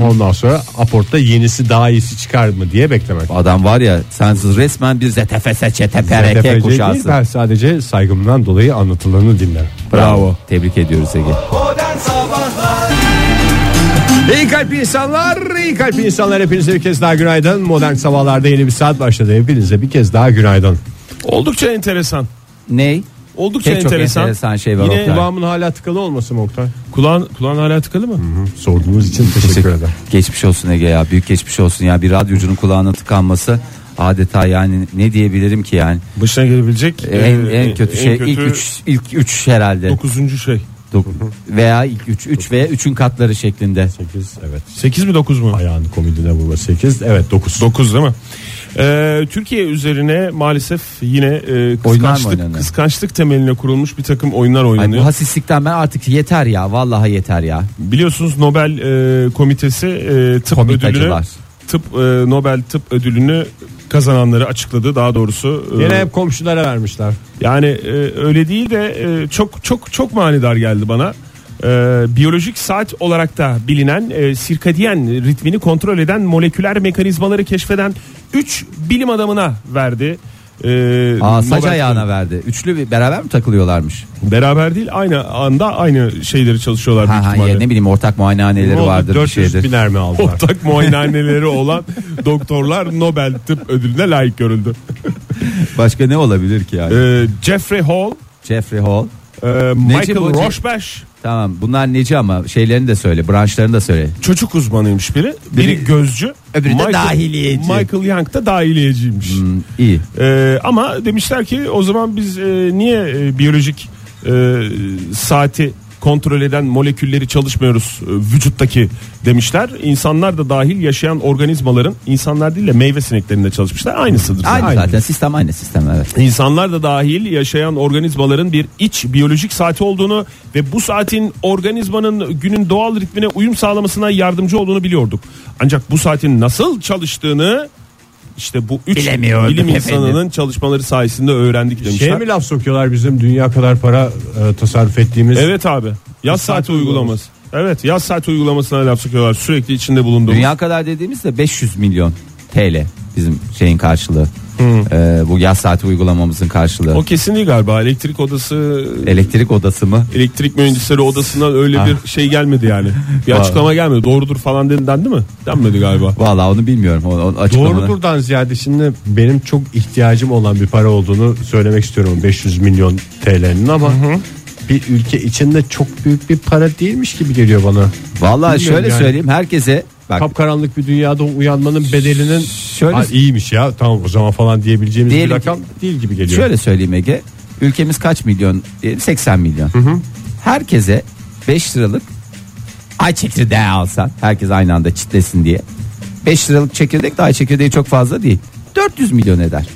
Speaker 3: ondan sonra aportta yenisi daha iyisi çıkar mı diye beklemek.
Speaker 2: Adam var ya sensiz resmen bir ZTFS, ÇTPRK
Speaker 3: ZDFC
Speaker 2: kuşağısın.
Speaker 3: değil, ben sadece saygımdan dolayı anlatılanı dinlerim.
Speaker 2: Bravo. Tebrik ediyoruz Ege.
Speaker 3: İyi kalp insanlar, iyi kalp insanlar hepinize bir kez daha günaydın. Modern sabahlarda yeni bir saat başladı. Hepinize bir kez daha günaydın.
Speaker 4: Oldukça enteresan.
Speaker 2: Ney?
Speaker 4: Oldukça
Speaker 2: Pek çok
Speaker 4: enteresan.
Speaker 2: enteresan şey var
Speaker 4: Yine
Speaker 2: Oktay.
Speaker 3: Kulağımın hala tıkalı olması mı Oktay?
Speaker 4: kulağın, kulağın hala tıkalı mı?
Speaker 3: Sorduğunuz için teşekkür ederim.
Speaker 2: Geçmiş olsun Ege ya. Büyük geçmiş olsun ya. Bir radyocunun kulağına tıkanması adeta yani ne diyebilirim ki yani.
Speaker 4: Başına gelebilecek
Speaker 2: En,
Speaker 4: e,
Speaker 2: en kötü şey ilk üç ilk üç herhalde.
Speaker 4: Dokuzuncu şey.
Speaker 2: Dok- veya ilk üç üç veya üçün katları şeklinde.
Speaker 3: 8 evet.
Speaker 4: 8 mi 9 mu?
Speaker 3: Ayağını komidine vurma 8 evet 9.
Speaker 4: 9 değil mi? Ee, Türkiye üzerine maalesef yine e,
Speaker 2: mı
Speaker 4: kıskançlık,
Speaker 2: oynanıyor?
Speaker 4: kıskançlık temeline kurulmuş bir takım oyunlar
Speaker 2: Ay
Speaker 4: oynanıyor.
Speaker 2: bu hassislikten ben artık yeter ya. Vallahi yeter ya.
Speaker 4: Biliyorsunuz Nobel e, komitesi e, tıp
Speaker 2: Komitacılar.
Speaker 4: ödülünü tıp e, Nobel tıp ödülünü kazananları açıkladı daha doğrusu. E,
Speaker 3: Yine hep komşulara vermişler.
Speaker 4: Yani e, öyle değil de e, çok çok çok manidar geldi bana. E, biyolojik saat olarak da bilinen e, sirkadiyen ritmini kontrol eden moleküler mekanizmaları keşfeden 3 bilim adamına verdi. E,
Speaker 2: Aa, saç
Speaker 4: Nobel-
Speaker 2: ayağına verdi. Üçlü bir, beraber mi takılıyorlarmış?
Speaker 4: Beraber değil aynı anda aynı şeyleri çalışıyorlar büyük
Speaker 2: Ha, ha,
Speaker 4: ihtimalle.
Speaker 2: ya ne bileyim ortak muayenehaneleri
Speaker 3: Ne oldu?
Speaker 2: vardır bir
Speaker 3: 400
Speaker 2: şeydir.
Speaker 3: biner mi aldılar?
Speaker 4: Ortak muayenehaneleri olan doktorlar Nobel Tıp Ödülüne layık görüldü.
Speaker 2: Başka ne olabilir ki yani?
Speaker 4: E, Jeffrey Hall,
Speaker 2: Jeffrey Hall.
Speaker 4: e, Michael
Speaker 2: bu-
Speaker 4: Rosbach
Speaker 2: Tamam bunlar neci ama şeylerini de söyle branşlarını da söyle.
Speaker 4: çocuk uzmanıymış biri. Biri,
Speaker 2: Biri-
Speaker 4: gözcü.
Speaker 2: öbürü de dahiliyeci.
Speaker 4: Michael Young da dahiliyeciymiş.
Speaker 2: Hmm, iyi.
Speaker 4: Ee, ama demişler ki o zaman biz e, niye e, biyolojik e, saati kontrol eden molekülleri çalışmıyoruz e, vücuttaki demişler. İnsanlar da dahil yaşayan organizmaların insanlar değil de meyve sineklerinde çalışmışlar. Aynısıdır.
Speaker 2: Aynı, zaten sistem aynı sistem evet.
Speaker 4: İnsanlar da dahil yaşayan organizmaların bir iç biyolojik saati olduğunu ve bu saatin organizmanın günün doğal ritmine uyum sağlamasına yardımcı olduğunu biliyorduk. Ancak bu saatin nasıl çalıştığını işte bu üç
Speaker 2: Bilemiyorduk
Speaker 4: bilim
Speaker 2: efendim.
Speaker 4: insanının çalışmaları sayesinde öğrendik demişler.
Speaker 3: Şey mi laf sokuyorlar bizim dünya kadar para e, tasarruf ettiğimiz?
Speaker 4: Evet abi. Yaz saati,
Speaker 3: saati
Speaker 4: uygulaması. Evet yaz saati uygulamasına laf sokuyorlar. Sürekli içinde bulunduğumuz.
Speaker 2: Dünya kadar dediğimizde 500 milyon TL bizim şeyin karşılığı. Ee, bu yaz saati uygulamamızın karşılığı.
Speaker 4: O kesin değil galiba. Elektrik odası
Speaker 2: Elektrik odası mı?
Speaker 4: elektrik mühendisleri odasından öyle
Speaker 2: Ah.
Speaker 4: bir şey gelmedi yani. Bir açıklama gelmedi. Doğrudur falan dedi, dendi mi? Denmedi galiba.
Speaker 2: Vallahi onu bilmiyorum. O, o açıklamaları-
Speaker 3: Doğrudur'dan ziyade şimdi benim çok ihtiyacım olan bir para olduğunu söylemek istiyorum 500 milyon TL'nin ama bir ülke içinde çok büyük bir para değilmiş gibi geliyor bana.
Speaker 2: Vallahi
Speaker 3: Bilmiyorum
Speaker 2: şöyle
Speaker 3: yani.
Speaker 2: söyleyeyim herkese bak
Speaker 3: Kapkaranlık bir dünyada uyanmanın bedelinin
Speaker 2: Şöyle-
Speaker 3: Ha, iyiymiş ya tamam o zaman falan diyebileceğimiz
Speaker 2: Diyelim
Speaker 3: bir
Speaker 2: ki-
Speaker 3: rakam değil gibi geliyor.
Speaker 2: şöyle söyleyeyim Ege. Ülkemiz kaç milyon? Diyelim 80 milyon. Herkese 5 liralık ay çekirdeği alsan herkes aynı anda çitlesin diye. 5 liralık çekirdek de ay çekirdeği çok fazla değil. 400 milyon eder.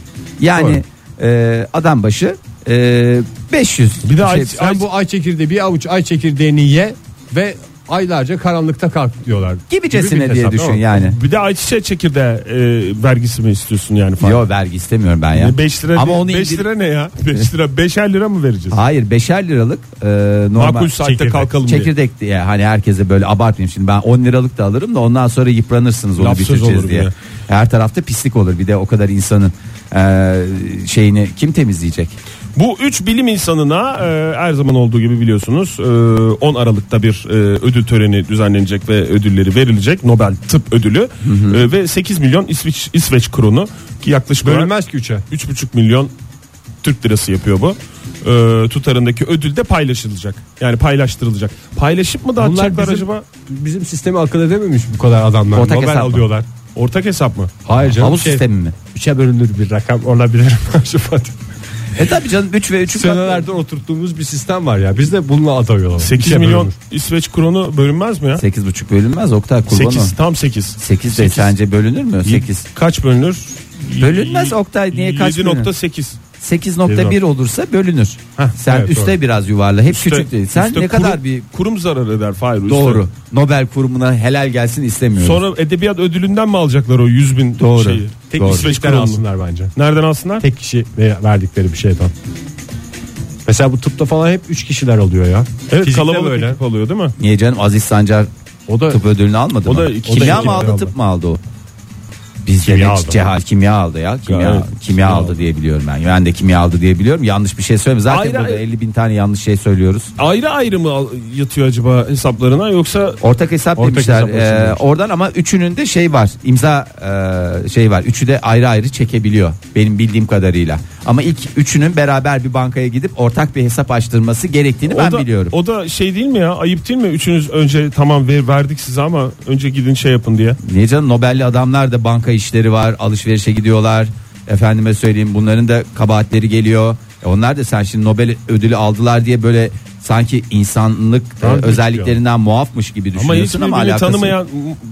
Speaker 2: Yani e, adam başı e, 500.
Speaker 3: Bir de
Speaker 2: Şey,
Speaker 3: ay, sen bu ay çekirdeği bir avuç ay çekirdeğini ye ve aylarca karanlıkta kalk diyorlar.
Speaker 2: Gibicesine
Speaker 3: Gibi bir
Speaker 2: diye
Speaker 3: hesap,
Speaker 2: düşün
Speaker 3: tamam.
Speaker 2: yani.
Speaker 4: Bir de ayçiçeği çekirdeği e, vergisi mi istiyorsun yani falan?
Speaker 2: Yo vergi istemiyorum ben ya.
Speaker 4: 5 lira
Speaker 2: Ama
Speaker 4: değil,
Speaker 2: onu
Speaker 4: beş
Speaker 2: indir-
Speaker 4: lira ne ya? 5 lira 5'er lira mı vereceğiz?
Speaker 2: Hayır 5'er liralık e, normal
Speaker 4: Makul saatte
Speaker 3: çekirdek.
Speaker 4: kalkalım diye.
Speaker 2: çekirdek diye hani herkese böyle abartmayayım şimdi ben 10 liralık da alırım da ondan sonra yıpranırsınız onu
Speaker 4: Laf söz
Speaker 2: bitireceğiz
Speaker 4: olur
Speaker 2: diye.
Speaker 4: bir de.
Speaker 2: Her tarafta pislik olur bir de o kadar insanın e, şeyini kim temizleyecek?
Speaker 4: Bu üç bilim insanına e, her zaman olduğu gibi biliyorsunuz e, 10 Aralık'ta bir e, ödül töreni düzenlenecek ve ödülleri verilecek. Nobel Tıp Ödülü E, ve 8 milyon İsveç, İsveç kronu ki yaklaşık olarak
Speaker 3: Bölünmez ki üçe.
Speaker 4: 3,5 milyon Türk lirası yapıyor bu. E, tutarındaki ödül de paylaşılacak. Yani paylaştırılacak. Paylaşıp mı
Speaker 3: Bunlar
Speaker 4: dağıtacaklar
Speaker 3: bizim,
Speaker 4: acaba?
Speaker 3: bizim sistemi akıl edememiş bu kadar adamlar.
Speaker 2: Ortak
Speaker 3: Nobel
Speaker 2: hesap mı?
Speaker 3: alıyorlar.
Speaker 4: Ortak hesap mı?
Speaker 3: Hayır canım.
Speaker 4: şey-
Speaker 2: Havuz sistemi mi?
Speaker 3: Üçe bölünür bir rakam olabilir. acaba?
Speaker 2: E tabi canım 3 ve 3'ün
Speaker 3: Senelerde oturttuğumuz bir sistem var ya. Biz de bununla aday olalım.
Speaker 4: 8
Speaker 2: şey
Speaker 3: Üçe
Speaker 4: milyon
Speaker 3: bölünür.
Speaker 4: İsveç kronu bölünmez mi ya?
Speaker 2: 8,5 bölünmez Oktay kurban 8.
Speaker 4: 8 tam 8.
Speaker 2: 8 de sence bölünür mü? 8.
Speaker 4: Kaç bölünür?
Speaker 2: Bölünmez Oktay, niye kaç bölünür?
Speaker 4: 7.8.
Speaker 2: 8.1 olursa bölünür. Sen
Speaker 3: evet,
Speaker 2: üste biraz yuvarla. Hep küçük değil. Sen
Speaker 4: İşte
Speaker 2: ne
Speaker 4: kurum-
Speaker 2: kadar bir
Speaker 4: kurum zararı eder Fahir. üste.
Speaker 2: doğru. Nobel kurumuna helal gelsin istemiyorum.
Speaker 4: Sonra edebiyat ödülünden mi alacaklar o 100 bin
Speaker 2: Doğru.
Speaker 4: şeyi?
Speaker 3: Tek
Speaker 4: Doğru.
Speaker 3: İsveç'ten
Speaker 4: Kurumlu.
Speaker 3: alsınlar bence.
Speaker 4: Nereden alsınlar?
Speaker 3: Tek kişi ve- verdikleri bir şeyden. Mesela bu tıpta falan hep 3 kişiler alıyor ya.
Speaker 4: Evet
Speaker 3: Fizikte
Speaker 4: kalabalık
Speaker 3: böyle.
Speaker 4: ekip alıyor değil mi?
Speaker 2: Niye canım Aziz Sancar
Speaker 3: O da
Speaker 2: tıp ödülünü almadı
Speaker 4: O
Speaker 2: mı?
Speaker 4: da iki- o da
Speaker 2: kimya
Speaker 4: iki
Speaker 2: mı aldı,
Speaker 3: aldı.
Speaker 2: tıp mı aldı o? Bizde
Speaker 3: Kimya
Speaker 2: kimya
Speaker 3: aldı.
Speaker 2: cehal kimya aldı ya. Kimya,
Speaker 4: Gayet.
Speaker 2: kimya, aldı diye biliyorum ben. Ben de kimya aldı diye biliyorum. Yanlış bir şey söylemiyorum. Zaten
Speaker 4: Hayır,
Speaker 2: burada
Speaker 4: hayır.
Speaker 2: 50 bin tane yanlış şey söylüyoruz.
Speaker 4: Ayrı ayrı mı al- yatıyor acaba hesaplarına yoksa
Speaker 2: Ortak hesap
Speaker 3: Ortak
Speaker 2: demişler.
Speaker 3: hesap olsun
Speaker 2: Ee,
Speaker 3: demiş.
Speaker 2: oradan ama üçünün de şey var. İmza e, şey var. Üçü de ayrı ayrı çekebiliyor benim bildiğim kadarıyla. Ama ilk üçünün beraber bir bankaya gidip ortak bir hesap açtırması gerektiğini E, ben
Speaker 4: o da,
Speaker 2: biliyorum.
Speaker 4: O da şey değil mi ya? Ayıp değil mi? Üçünüz önce tamam ver, verdik size ama önce gidin şey yapın diye.
Speaker 2: Niye canım Nobel'li adamlar da banka işleri var alışverişe gidiyorlar efendime söyleyeyim bunların da kabahatleri geliyor E onlar da sen şimdi Nobel ödülü aldılar diye böyle sanki insanlık e,
Speaker 4: Tabii ki.
Speaker 2: özelliklerinden muafmış gibi
Speaker 4: Ama hiç
Speaker 2: düşünüyorsun ama,
Speaker 4: birbirini
Speaker 2: alakası
Speaker 4: tanımayan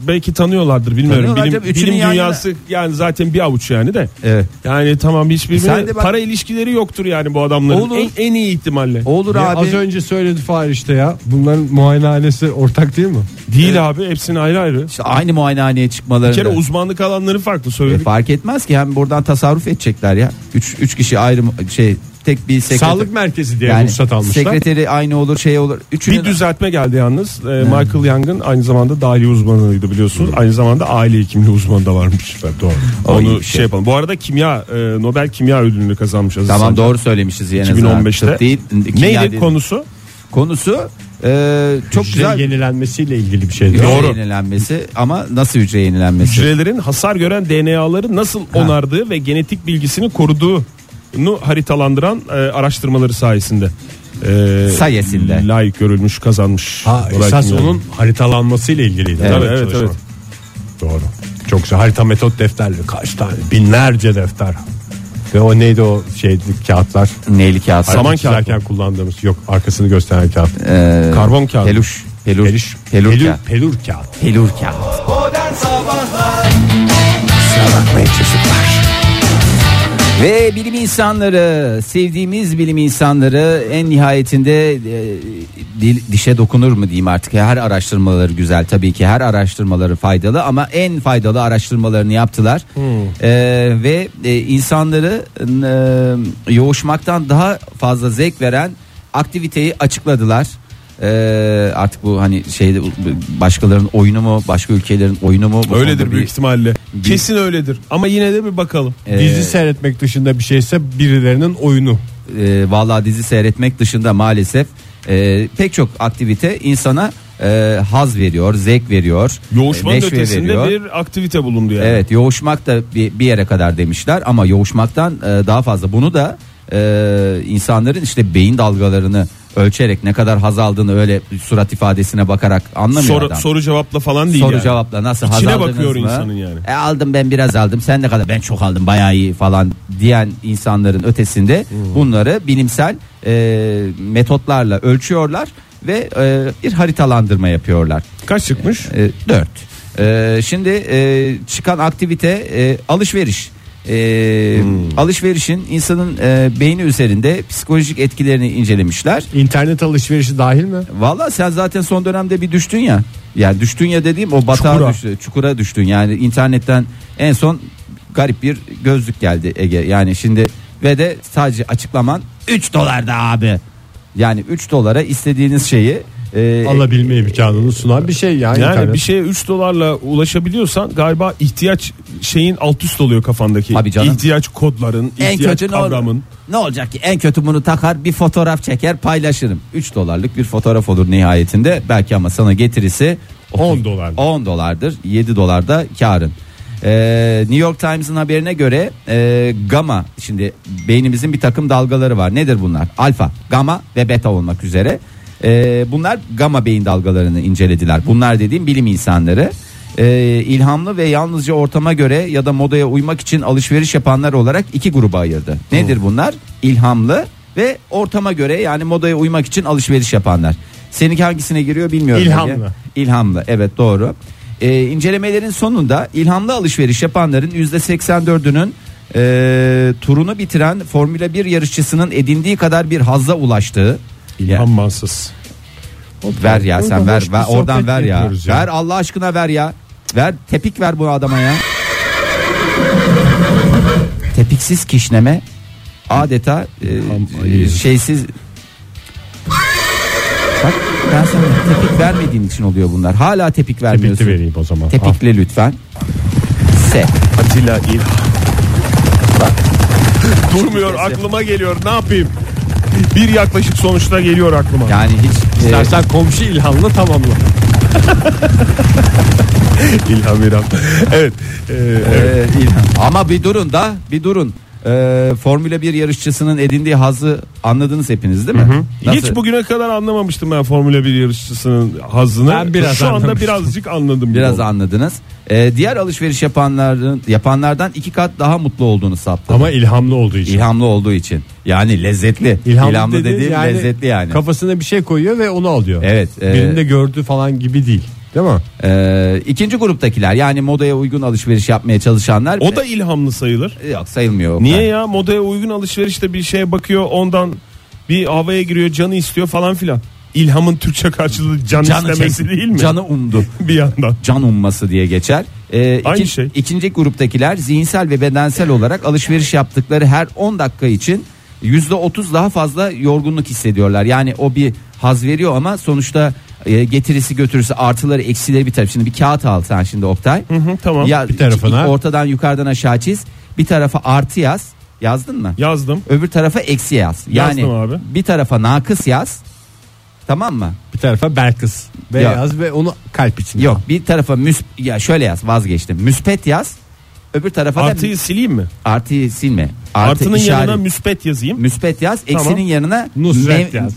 Speaker 4: belki tanıyorlardır bilmiyorum.
Speaker 2: Tanıyorlar
Speaker 4: Bilim,
Speaker 2: tabii, üçünün
Speaker 4: bilim
Speaker 2: yan
Speaker 4: dünyası yani zaten bir avuç yani de.
Speaker 2: Evet. E
Speaker 4: Yani tamam hiçbirbirine
Speaker 2: Sen de bak-
Speaker 4: para ilişkileri yoktur yani bu adamların.
Speaker 2: Olur.
Speaker 4: En, en iyi ihtimalle.
Speaker 2: Olur
Speaker 3: Ya
Speaker 2: abi.
Speaker 3: Az önce söyledi Fahir işte ya. Bunların muayenehanesi ortak değil mi?
Speaker 4: Değil abi hepsinin ayrı ayrı.
Speaker 2: İşte aynı muayenehaneye
Speaker 4: Bir kere
Speaker 2: çıkmaları.
Speaker 4: uzmanlık alanları farklı
Speaker 2: E,
Speaker 4: söyledik.
Speaker 2: fark etmez ki hem buradan tasarruf edecekler ya. Üç, üç kişi ayrı mu- şey tek bir sekreter.
Speaker 3: Sağlık merkezi diye
Speaker 2: yani
Speaker 3: ruhsat almışlar.
Speaker 2: sekreteri aynı olur şey olur. Üçünün
Speaker 4: Bir düzeltme geldi yalnız. Ee, Michael Young'ın aynı zamanda dahiliye uzmanıydı biliyorsunuz. Aynı zamanda aile hekimliği uzmanı da varmış. Doğru.
Speaker 2: O iyi
Speaker 4: Onu
Speaker 2: bir
Speaker 4: şey.
Speaker 2: şey.
Speaker 4: yapalım. Bu arada kimya e, Nobel Kimya Ödülünü kazanmış Aziz
Speaker 2: Tamam
Speaker 4: Sancar.
Speaker 2: doğru söylemişiz yine.
Speaker 4: 2015'te.
Speaker 2: Tıp Değil, kimya
Speaker 4: Neydi
Speaker 2: değil.
Speaker 4: konusu?
Speaker 2: Konusu e, çok
Speaker 3: Hücre
Speaker 2: güzel.
Speaker 3: yenilenmesiyle ilgili bir şey.
Speaker 2: Hücre
Speaker 4: Doğru.
Speaker 2: yenilenmesi ama nasıl hücre yenilenmesi?
Speaker 4: Hücrelerin hasar gören DNA'ları nasıl onardığı ve genetik bilgisini koruduğunu haritalandıran e, araştırmaları sayesinde. E,
Speaker 2: Sayesinde.
Speaker 4: Layık görülmüş kazanmış.
Speaker 3: Ha
Speaker 4: Nobel
Speaker 3: esas
Speaker 4: Kimya Ödülü.
Speaker 3: onun haritalanmasıyla ilgiliydi.
Speaker 2: Evet,
Speaker 3: Tabii,
Speaker 4: evet,
Speaker 3: çalışma.
Speaker 4: evet.
Speaker 3: Doğru. Çok güzel. Harita metot defterleri kaç tane? Binlerce defter. Ve o neydi o şeylik kağıtlar?
Speaker 2: Neyli kağıt?
Speaker 3: Harita
Speaker 4: Saman kağıdı.
Speaker 3: çizerken kullandığımız yok arkasını gösteren kağıt.
Speaker 4: Karbon kağıdı.
Speaker 2: Peluş. Pelur.
Speaker 3: Pelur,
Speaker 2: Pelur.
Speaker 3: pelur,
Speaker 2: kağıt.
Speaker 3: pelur kağıt.
Speaker 2: Pelur kağıt. Ve bilim insanları, sevdiğimiz bilim insanları en nihayetinde e, dil- dişe dokunur mu diyeyim artık. Her araştırmaları güzel tabii ki her araştırmaları faydalı ama en faydalı araştırmalarını yaptılar.
Speaker 4: Hmm.
Speaker 2: E, ve e, insanları e, yoğuşmaktan daha fazla zevk veren aktiviteyi açıkladılar. E, artık bu hani şeyde başkalarının oyunu mu, başka ülkelerin oyunu mu? Bu
Speaker 4: Öyledir
Speaker 2: konuda bir-
Speaker 4: büyük ihtimalle. Kesin öyledir. Ama yine de bir bakalım.
Speaker 2: Ee,
Speaker 3: Dizi seyretmek dışında bir şeyse birilerinin oyunu.
Speaker 2: e, vallahi dizi seyretmek dışında maalesef e, pek çok aktivite insana e, haz veriyor, zevk veriyor,
Speaker 4: Yoğuşmanın
Speaker 2: e, neşve
Speaker 4: ötesinde
Speaker 2: veriyor.
Speaker 4: bir aktivite bulundu yani.
Speaker 2: Evet, yoğuşmak da bir, bir yere kadar demişler ama yoğuşmaktan e, daha fazla bunu da e, insanların işte beyin dalgalarını ölçerek ne kadar haz aldığını öyle surat ifadesine bakarak anlamıyor
Speaker 4: Soru,
Speaker 2: adam.
Speaker 4: soru cevapla falan değil
Speaker 2: Soru
Speaker 4: yani.
Speaker 2: cevapla nasıl haz
Speaker 4: İçine
Speaker 2: aldınız
Speaker 4: bakıyor
Speaker 2: mı?
Speaker 4: insanın yani.
Speaker 2: E aldım ben biraz aldım. Sen ne kadar? Ben çok aldım. Bayağı iyi falan diyen insanların ötesinde
Speaker 4: Hmm.
Speaker 2: bunları bilimsel e, metotlarla ölçüyorlar ve e, bir haritalandırma yapıyorlar.
Speaker 4: Kaç çıkmış?
Speaker 2: 4. şimdi e, çıkan aktivite e, alışveriş. E,
Speaker 4: Hmm.
Speaker 2: alışverişin insanın e, beyni üzerinde psikolojik etkilerini incelemişler.
Speaker 3: İnternet alışverişi dahil mi?
Speaker 2: Valla sen zaten son dönemde bir düştün ya. Yani düştün ya dediğim o batağa
Speaker 4: Çukura.
Speaker 2: düştü, çukura düştün. Yani internetten en son garip bir gözlük geldi Ege. Yani şimdi ve de sadece açıklaman 3 dolarda abi. Yani 3 dolara istediğiniz şeyi e,
Speaker 3: Alabilme imkanını sunan bir şey yani.
Speaker 4: Yani
Speaker 3: internet.
Speaker 4: bir şeye 3 dolarla ulaşabiliyorsan galiba ihtiyaç şeyin alt üst oluyor kafandaki.
Speaker 2: Tabii canım.
Speaker 4: İhtiyaç kodların,
Speaker 2: en
Speaker 4: ihtiyaç
Speaker 2: kötü ne, ol-
Speaker 4: kavramın.
Speaker 2: ne olacak ki? En kötü bunu takar bir fotoğraf çeker paylaşırım. 3 dolarlık bir fotoğraf olur nihayetinde. Belki ama sana getirisi
Speaker 3: 10 dolar.
Speaker 2: 10 dolardır 7 dolar da karın. Ee, New York Times'ın haberine göre e, gamma şimdi beynimizin bir takım dalgaları var. Nedir bunlar? Alfa, gamma ve beta olmak üzere. Ee, bunlar gamma beyin dalgalarını incelediler. Bunlar dediğim bilim insanları. Ee, ilhamlı ve yalnızca ortama göre ya da modaya uymak için alışveriş yapanlar olarak iki gruba ayırdı. Nedir bunlar? İlhamlı ve ortama göre yani modaya uymak için alışveriş yapanlar. Seninki hangisine giriyor bilmiyorum.
Speaker 3: İlhamlı.
Speaker 2: Ege. İlhamlı evet doğru. Ee, incelemelerin sonunda ilhamlı alışveriş yapanların %84'ünün e, turunu bitiren Formula 1 yarışçısının edindiği kadar bir hazza ulaştığı. Ya,
Speaker 3: Ammansız.
Speaker 2: ver ya sen
Speaker 3: Orada
Speaker 2: ver,
Speaker 3: hoş bir
Speaker 2: ver oradan
Speaker 3: sohbet
Speaker 2: ver ya.
Speaker 3: yapıyoruz ya.
Speaker 2: Ver Allah aşkına ver ya. Ver tepik ver bu adama ya. Tepiksiz kişneme adeta e,
Speaker 3: ayı.
Speaker 2: e, şeysiz Bak ben sana tepik vermediğin için oluyor bunlar. Hala tepik vermiyorsun.
Speaker 3: Tepikli vereyim o zaman. Ah,
Speaker 2: Tepikle lütfen. S.
Speaker 4: Atilla İlhan. Durmuyor aklıma geliyor ne yapayım? Bir yaklaşık sonuçta geliyor aklıma.
Speaker 2: Yani hiç e,
Speaker 3: İstersen komşu ilhamla tamamla.
Speaker 4: İlham İlham. evet. Ee,
Speaker 2: e, ilham. ama bir durun da bir durun. e, Formula 1 yarışçısının edindiği hazı anladınız hepiniz değil mi?
Speaker 4: Hiç bugüne kadar anlamamıştım ben Formula 1 yarışçısının hazını.
Speaker 5: Ben biraz
Speaker 4: Şu anda
Speaker 5: anlamıştım.
Speaker 4: birazcık anladım.
Speaker 2: Biraz
Speaker 4: bunu.
Speaker 2: anladınız. E, diğer alışveriş yapanların yapanlardan iki kat daha mutlu olduğunu saptadı.
Speaker 3: Ama ilhamlı olduğu için.
Speaker 2: İlhamlı olduğu için. Yani lezzetli. İlhamlı,
Speaker 3: dediği
Speaker 2: dediğim
Speaker 3: yani
Speaker 2: lezzetli yani.
Speaker 3: Kafasına bir şey koyuyor ve onu alıyor.
Speaker 2: Evet, e-
Speaker 3: Birinde gördü falan gibi değil. Değil mi?
Speaker 2: Ee, ikinci gruptakiler yani modaya uygun alışveriş yapmaya çalışanlar.
Speaker 4: O da ilhamlı sayılır.
Speaker 2: yok sayılmıyor. o
Speaker 4: Niye
Speaker 2: kadar.
Speaker 4: ya modaya uygun alışverişte bir şeye bakıyor ondan bir havaya giriyor canı istiyor falan filan. İlhamın Türkçe karşılığı can istemesi
Speaker 2: çekti.
Speaker 4: değil mi?
Speaker 2: Canı umdu.
Speaker 4: bir yandan.
Speaker 2: Can umması diye geçer. Ee,
Speaker 4: Aynı
Speaker 2: ikin-
Speaker 4: şey.
Speaker 2: İkinci gruptakiler zihinsel ve bedensel olarak alışveriş yaptıkları her 10 dakika için %30 daha fazla yorgunluk hissediyorlar. Yani o bir haz veriyor ama sonuçta e, getirisi götürüsü artıları eksileri bir taraf. Şimdi bir kağıt al sen şimdi Oktay.
Speaker 4: Hı hı, tamam
Speaker 2: Ya,
Speaker 3: bir tarafına.
Speaker 2: Ortadan yukarıdan aşağı çiz. Bir tarafa artı yaz. Yazdın mı?
Speaker 4: yazdım.
Speaker 2: öbür tarafa eksi yaz.
Speaker 4: Yazdım
Speaker 2: Yani
Speaker 4: abi.
Speaker 2: bir tarafa nakıs yaz. Tamam mı?
Speaker 3: Bir tarafa Belkıs. Beyaz ve onu kalp içinde.
Speaker 2: Yok bir tarafa müs ya şöyle yaz vazgeçtim. Müspet yaz. Öbür tarafa
Speaker 4: Artıyı
Speaker 2: da
Speaker 4: sileyim mi?
Speaker 2: artıyı silme. Artı
Speaker 4: Artının
Speaker 2: işaret-
Speaker 4: yanına müspet yazayım.
Speaker 2: müspet yaz.
Speaker 4: Tamam.
Speaker 2: Eksinin yanına
Speaker 3: Nusret
Speaker 2: mev-
Speaker 3: yaz.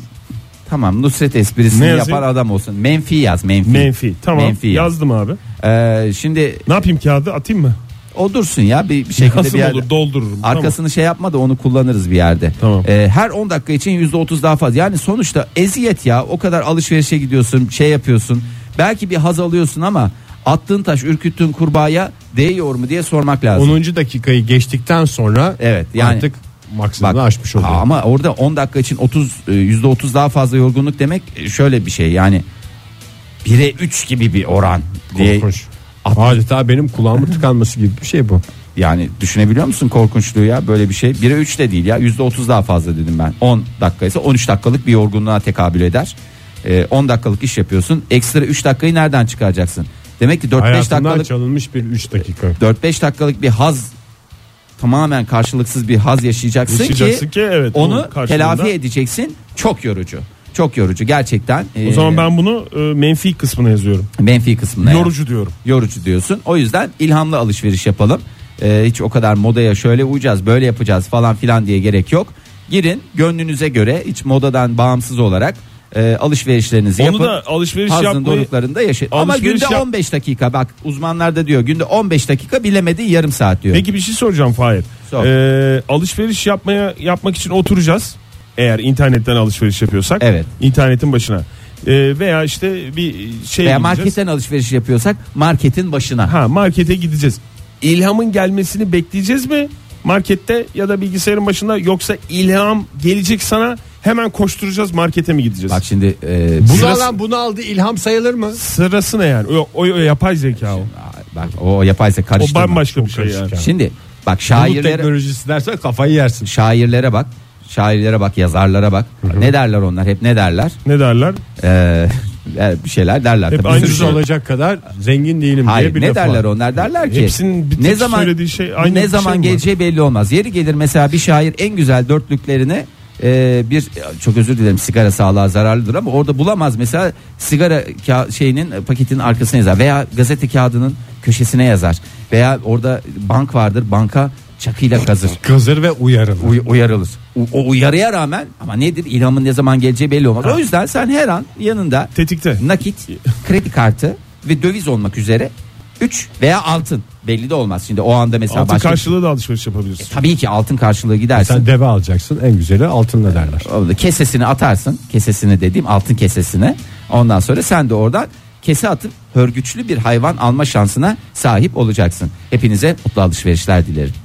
Speaker 2: Tamam Nusret
Speaker 4: Ne
Speaker 2: esprisini
Speaker 4: yazayım?
Speaker 2: yapar adam olsun. Menfi yaz menfi.
Speaker 4: Menfi. Tamam
Speaker 2: Menfi yaz.
Speaker 4: yazdım abi.
Speaker 2: Ee, şimdi
Speaker 4: Ne yapayım kağıdı atayım mı?
Speaker 2: o dursun ya bir, bir şekilde
Speaker 4: Nasıl
Speaker 2: bir yerde.
Speaker 4: olur doldururum.
Speaker 2: Arkasını şey yapma da onu kullanırız bir yerde.
Speaker 4: Tamam.
Speaker 2: Ee, her 10 dakika için %30 daha fazla. Yani sonuçta eziyet ya. O kadar alışverişe gidiyorsun, şey yapıyorsun. Belki bir haz alıyorsun ama attığın taş, ürküttüğün kurbağaya değiyor mu diye sormak lazım.
Speaker 3: 10. dakikayı geçtikten sonra
Speaker 2: Evet, yani-
Speaker 3: artık maksimumunu
Speaker 2: Bak,
Speaker 3: aşmış oluyor.
Speaker 2: ha, ama orada 10 dakika için 30 e, %30 daha fazla yorgunluk demek e, şöyle bir şey. Yani 1'e 3 gibi bir oran diye
Speaker 3: Korkunç. Adeta benim kulağımın tıkanması gibi bir şey bu.
Speaker 2: Yani düşünebiliyor musun korkunçluğu ya böyle bir şey. 1'e 3 de değil ya %30 daha fazla dedim ben. 10 dakika ise 13 dakikalık bir yorgunluğa tekabül eder. Ee, 10 dakikalık iş yapıyorsun. Ekstra 3 dakikayı nereden çıkaracaksın? Demek ki 4-5
Speaker 3: Hayatından
Speaker 2: dakikalık
Speaker 3: çalınmış bir 3 dakika.
Speaker 2: 4-5 dakikalık bir haz tamamen karşılıksız bir haz yaşayacaksın,
Speaker 4: Yaşayacaksın ki, evet,
Speaker 2: onu
Speaker 4: onun karşılığında-
Speaker 2: telafi edeceksin. Çok yorucu. Çok yorucu gerçekten. ee,
Speaker 4: O zaman ben bunu e, menfi kısmına yazıyorum.
Speaker 2: menfi kısmına yani
Speaker 4: Yorucu diyorum.
Speaker 2: yorucu diyorsun. O yüzden ilhamlı alışveriş yapalım. Ee, hiç o kadar modaya şöyle uyacağız böyle yapacağız falan filan diye gerek yok. Girin gönlünüze göre hiç modadan bağımsız olarak e, alışverişlerinizi
Speaker 4: Onu
Speaker 2: yapın.
Speaker 4: da alışveriş
Speaker 2: Hazın
Speaker 4: yapmayı-
Speaker 2: doruklarında yaşayın. Ama
Speaker 4: Alışveriş
Speaker 2: günde
Speaker 4: yap-
Speaker 2: 15 dakika bak uzmanlar da diyor günde 15 dakika bilemedi yarım saat diyor.
Speaker 4: Peki bir şey soracağım Fahir.
Speaker 2: Sor.
Speaker 4: Ee, alışveriş yapmaya yapmak için oturacağız. Eğer internetten alışveriş yapıyorsak.
Speaker 2: Evet.
Speaker 4: internetin başına. Ee, veya işte bir şey
Speaker 2: Veya
Speaker 4: gideceğiz.
Speaker 2: marketten alışveriş yapıyorsak marketin başına.
Speaker 4: Ha markete gideceğiz. İlhamın gelmesini bekleyeceğiz mi? Markette ya da bilgisayarın başında yoksa ilham gelecek sana hemen koşturacağız markete mi gideceğiz?
Speaker 2: Bak şimdi e,
Speaker 3: Bunu
Speaker 4: Sırası-
Speaker 3: alan bunu aldı ilham sayılır mı?
Speaker 4: Sırası ne yani? O, o, o yapay zeka o.
Speaker 2: bak o yapaysa
Speaker 4: O
Speaker 2: karıştırma.
Speaker 4: bambaşka bir şey
Speaker 3: karışık
Speaker 4: yani.
Speaker 3: yani.
Speaker 2: Şimdi bak
Speaker 3: Bulut
Speaker 2: şairlere
Speaker 3: teknolojisi dersen kafayı yersin.
Speaker 2: şairlere bak. Şairlere bak, yazarlara bak. Ne derler onlar? Hep ne derler?
Speaker 4: Ne derler?
Speaker 2: Ee, e, bir şeyler derler.
Speaker 4: Hep
Speaker 2: tabii.
Speaker 4: aynı
Speaker 2: Bir sürü
Speaker 3: Lüks
Speaker 4: şey.
Speaker 3: olacak kadar zengin değilim diye
Speaker 2: Hayır
Speaker 3: bir
Speaker 2: ne
Speaker 3: laf var.
Speaker 2: derler onlar derler ki
Speaker 4: Hepsinin bir tek
Speaker 2: ne zaman
Speaker 4: söylediği şey aynı bir
Speaker 2: ne
Speaker 4: şey
Speaker 2: zaman
Speaker 4: mi var?
Speaker 2: geleceği belli olmaz. Yeri gelir mesela bir şair en güzel dörtlüklerini e, bir çok özür dilerim sigara sağlığa zararlıdır ama orada bulamaz mesela sigara ka- şeyinin e, paketinin arkasına yazar veya gazete kağıdının köşesine yazar veya orada bank vardır banka çakıyla kazır.
Speaker 3: Kızır ve uyarın.
Speaker 2: Uy- uyarılır. U- o uyarıya rağmen ama nedir ilhamın ne zaman geleceği belli olmaz. O yüzden sen her an yanında
Speaker 4: Tetikte.
Speaker 2: nakit, kredi kartı ve döviz olmak üzere 3 veya altın belli de olmaz. Şimdi o anda mesela
Speaker 4: Altın
Speaker 2: başka- şey-
Speaker 4: karşılığı da alışveriş yapabiliriz.
Speaker 2: tabii ki altın karşılığı gidersin.
Speaker 3: Sen deve alacaksın en güzeli altınla derler.
Speaker 2: Orada kesesini atarsın. Kesesini dediğim altın kesesine. Ondan sonra sen de oradan kese atıp hörgüçlü bir hayvan alma şansına sahip olacaksın. Hepinize mutlu alışverişler dilerim.